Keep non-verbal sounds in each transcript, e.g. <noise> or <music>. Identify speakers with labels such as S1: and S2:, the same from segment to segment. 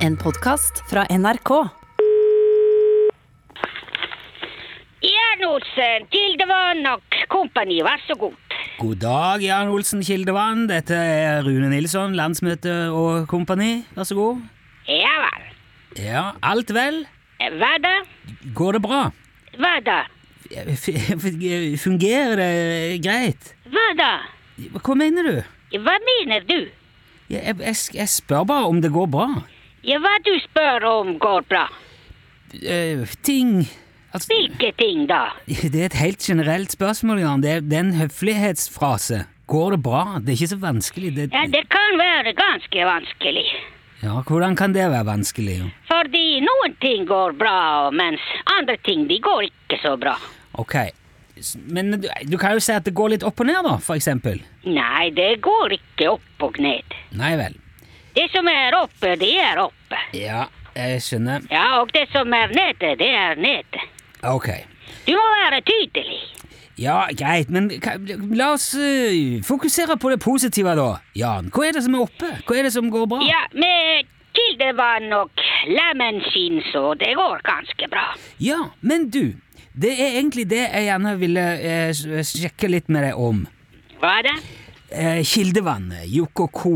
S1: En podkast fra NRK.
S2: Jern Olsen, Gildevann og kompani, vær så god.
S3: God dag, Jan Olsen Kildevann. Dette er Rune Nilsson, landsmøte og kompani. Vær så god.
S2: Ja vel.
S3: Ja, alt vel?
S2: Hva da?
S3: Går det bra? <laughs>
S2: Hva da?
S3: F f- fungerer det greit?
S2: Hva da?
S3: Hva mener du?
S2: Hva mener du?
S3: Jeg, jeg, jeg s- jeg spør bare om det går bra.
S2: Ja, hva du spør om går bra.
S3: Eh, ting altså,
S2: Hvilke ting da?
S3: Det er et helt generelt spørsmål, Jan. Det er, det er en høflighetsfrase. Går det bra? Det er ikke så vanskelig. Det,
S2: Ja, det kan være ganske vanskelig.
S3: ja, hvordan kan det være vanskelig? Jan?
S2: Fordi noen ting går bra, mens andre ting de går ikke så bra.
S3: Ok, S- men du, du kan jo si at det går litt opp og ned, da, for eksempel.
S2: Nei, det går ikke opp og ned.
S3: Nei vel.
S2: Det som er oppe, det er oppe.
S3: Ja, jeg skjønner.
S2: Ja, og det som er nede, det er nede.
S3: Ok.
S2: Du må være tydelig.
S3: Ja, greit, men ka- la oss eh, fokusere på det positive, da. Jan, hva er det som er oppe? Hva er det som går bra?
S2: Ja, med kildevann og lemenskinn, så det går ganske bra.
S3: Ja, men du, det er egentlig det jeg gjerne ville eh, s- sjekke litt med deg om.
S2: Hva da?
S3: Eh, Kildevannet, Jokk og Co.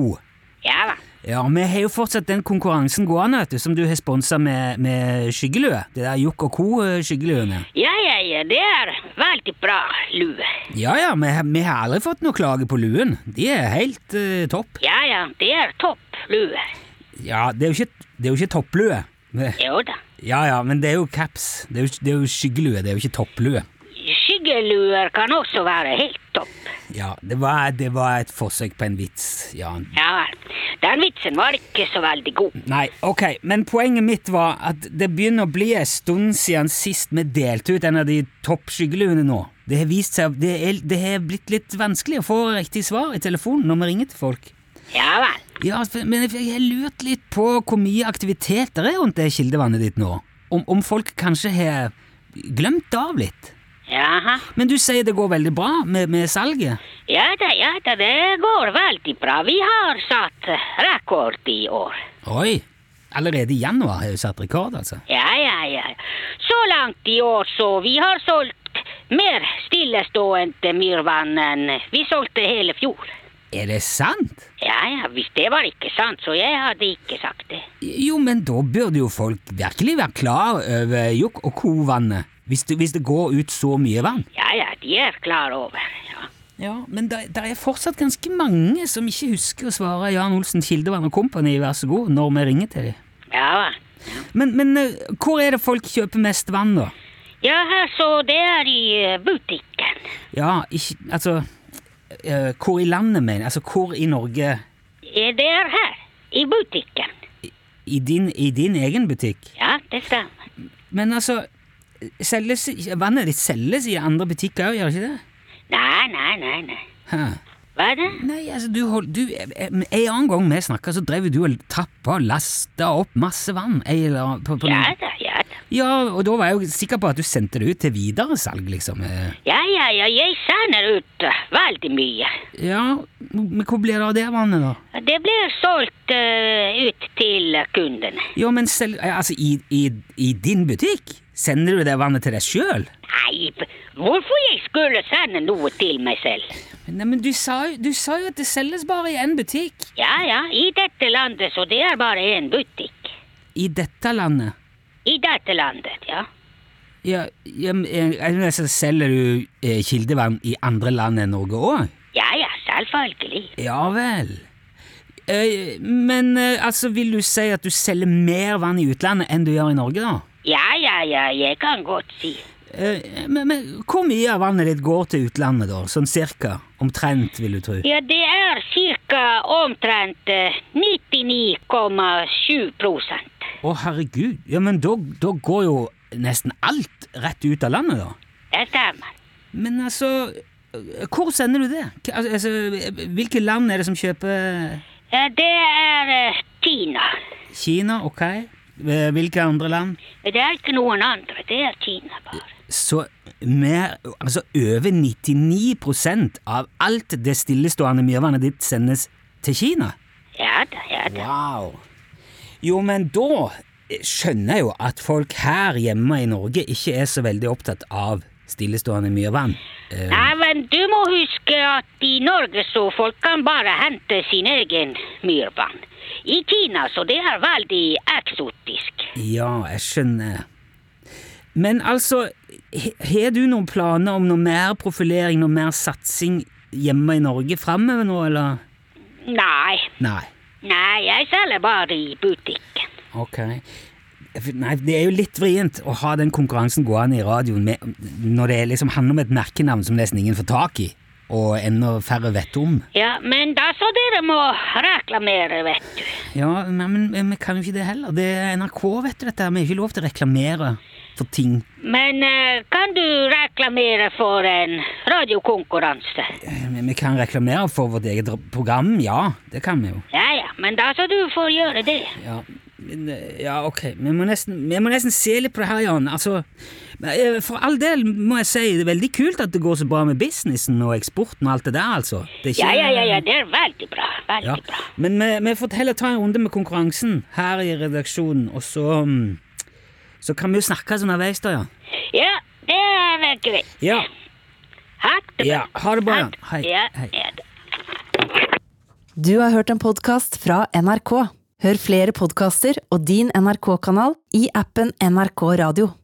S2: Ja da.
S3: Ja, vi har jo fortsatt den konkurransen gående, vet du, som du har sponsa med, med skyggelue. Det der eh, Jokk og Co.-skyggeluene.
S2: Ja, ja, ja, det er veldig bra lue.
S3: Ja ja, vi, har- vi har aldri fått noe klage på luen. De er helt eh, topp.
S2: Ja, ja, det er topp lue.
S3: Ja, det er jo ikke, det er jo ikke topplue. Det-
S2: Jo da.
S3: Ja, ja, men det er jo caps. Det er jo, det er jo skyggelue, det er jo ikke topplue.
S2: Skyggeluer kan også være helt topp.
S3: Ja, det var, det var et forsøk på en vits, Jan.
S2: Ja vel. Den vitsen var ikke så veldig god.
S3: Nei, ok, men poenget mitt var at det begynner å bli en stund siden sist vi delte ut en av de topp skyggeluene nå. Det har vist seg, det er, det har blitt litt vanskelig å få riktig svar i telefonen når vi ringer til folk.
S2: Ja vel.
S3: Ja, men jeg har lurt litt på hvor mye aktivitet det er rundt det kildevannet ditt nå. Om, om folk kanskje har glemt det av litt.
S2: Jaha.
S3: Men du sier det går veldig bra med, med salget?
S2: Ja da, ja da, det går veldig bra. Vi har satt rekord i år.
S3: Oi! Allerede i januar har jeg satt rekord, altså.
S2: Ja, ja, ja. Så langt i år, så vi har solgt mer stillestående myrvann enn vi solgte hele fjor.
S3: Er det sant?
S2: Ja, ja, hvis det var ikke sant, så jeg hadde ikke sagt det.
S3: Jo, men da burde jo folk virkelig være klar over Jokk og Co-vannet. Hvis, det- hvis det går ut så mye vann.
S2: Ja, ja, de er klar over, ja.
S3: Ja, Men det er fortsatt ganske mange som ikke husker å svare Jan Olsen Kildevann og Kompani, vær så god, når vi ringer til dem.
S2: Ja, va.
S3: Men, men eh, hvor er det folk kjøper mest vann, da?
S2: ja, her, så det er i eh, butikken.
S3: Ja, ikke Altså eh, Hvor i landet, mener jeg? Altså, hvor i Norge?
S2: Eh, Det er her, i butikken.
S3: I din, i din egen butikk?
S2: Ja, det stemmer.
S3: Men altså, selges, vannet ditt selges i andre butikker òg, gjør det ikke det?
S2: Nei, nei, nei, nei.
S3: Hæ?
S2: Hva er det?
S3: Nei, altså, du hold... Du, eh, eh, en annen gang vi snakka, så drev jo du og trappa og lasta opp masse vann. ei Eller, på, på
S2: Ja
S3: noen-
S2: da, ja da.
S3: ja, og da var jeg jo sikker på at du sendte det ut til videresalg, liksom. Eh,
S2: Ja, ja, ja, jeg sender ut eh, veldig mye.
S3: Ja, men hvor blir det av det vannet, da?
S2: Det blir solgt eh, ut til kundene.
S3: Jo, men selv... eh, Altså, i, i, i din butikk? Sender du det vannet til deg sjøl?
S2: Nei, p- hvorfor jeg skulle sende noe til meg selv?
S3: Nei, men du sa, jo- du sa jo at det selges bare i én butikk.
S2: Ja, ja, i dette landet, så det er bare én butikk.
S3: I dette landet.
S2: I dette landet, ja.
S3: Ja, ja men, eh, er det noe som selger du eh, kildevann i andre land enn Norge òg?
S2: Ja, ja, selvfølgelig.
S3: Ja vel. Eh, men eh, altså, vil du si at du selger mer vann i utlandet enn du gjør i Norge, da?
S2: Ja, ja, ja, jeg kan godt si.
S3: Eh, men, men hvor mye av vannet ditt går til utlandet, da? Sånn cirka? Omtrent, vil du tro.
S2: Ja, det er ca. omtrent eh, 99,7 prosent.
S3: Å, herregud. Ja, men da, da går jo nesten alt rett ut av landet, da.
S2: Det stemmer.
S3: Men altså eh, Hvor sender du det? K- al- Altså, eh, hvilke land er det som kjøper
S2: Ja, det er eh, Kina.
S3: Kina, ok? Eh, Hvilke andre land?
S2: Det er ikke noen andre, det er Kina bare.
S3: Så mer, altså over 99 av alt det stillestående myrvannet ditt sendes til Kina?
S2: Ja da, ja da.
S3: Wow! Jo, men da skjønner jeg jo at folk her hjemme i Norge ikke er så veldig opptatt av stillestående mye vann. Eh,
S2: Nei, men du må huske at i Norge så folk kan bare hente sin egen myrvann. I Kina så det er veldig eksotisk.
S3: Ja, jeg skjønner. Men altså, he- har du noen planer om noe mer profilering, noe mer satsing hjemme i Norge framover nå, eller?
S2: Nei,
S3: Nei.
S2: nei, jeg selger bare i butikken.
S3: Ok. Nei, det er jo litt vrient å ha den konkurransen gående i radioen med, når det liksom handler om et merkenavn som nesten ingen får tak i, og enda færre vet om.
S2: Ja, men da så dere må reklamere, vet du.
S3: Ja, men, men, men vi kan jo ikke det heller. Det er NRK, vet du, dette. her. Vi har ikke lov til å reklamere for ting.
S2: Men eh, kan du reklamere for en radiokonkurranse?
S3: Men Eh, vi kan reklamere for vårt eget program, ja. Det kan vi jo.
S2: Ja, ja, men da så du får gjøre det.
S3: Ja, men, eh, ja ok. Vi må, nesten, vi må nesten se litt på det her, Jan. Altså, men, eh, for all del må jeg si det er veldig kult at det går så bra med businessen og eksporten og alt det der, altså. Det er
S2: Ja,
S3: ikke-
S2: ja, ja, ja, det er veldig bra,
S3: Ja.
S2: veldig bra.
S3: Men vi, vi får heller ta en runde med konkurransen her i redaksjonen, og så mm, Så kan vi jo snakkes underveis, da, Jan.
S2: Ja, det er vel greit.
S3: Ja.
S2: Ha det
S3: ja. Ha det bra, Jan.
S2: bra.
S3: Hei.
S2: Ja,
S3: Hei.
S2: ja da.
S1: Du har hørt en podkast fra NRK. Hør flere podkaster og din NRK-kanal i appen NRK Radio.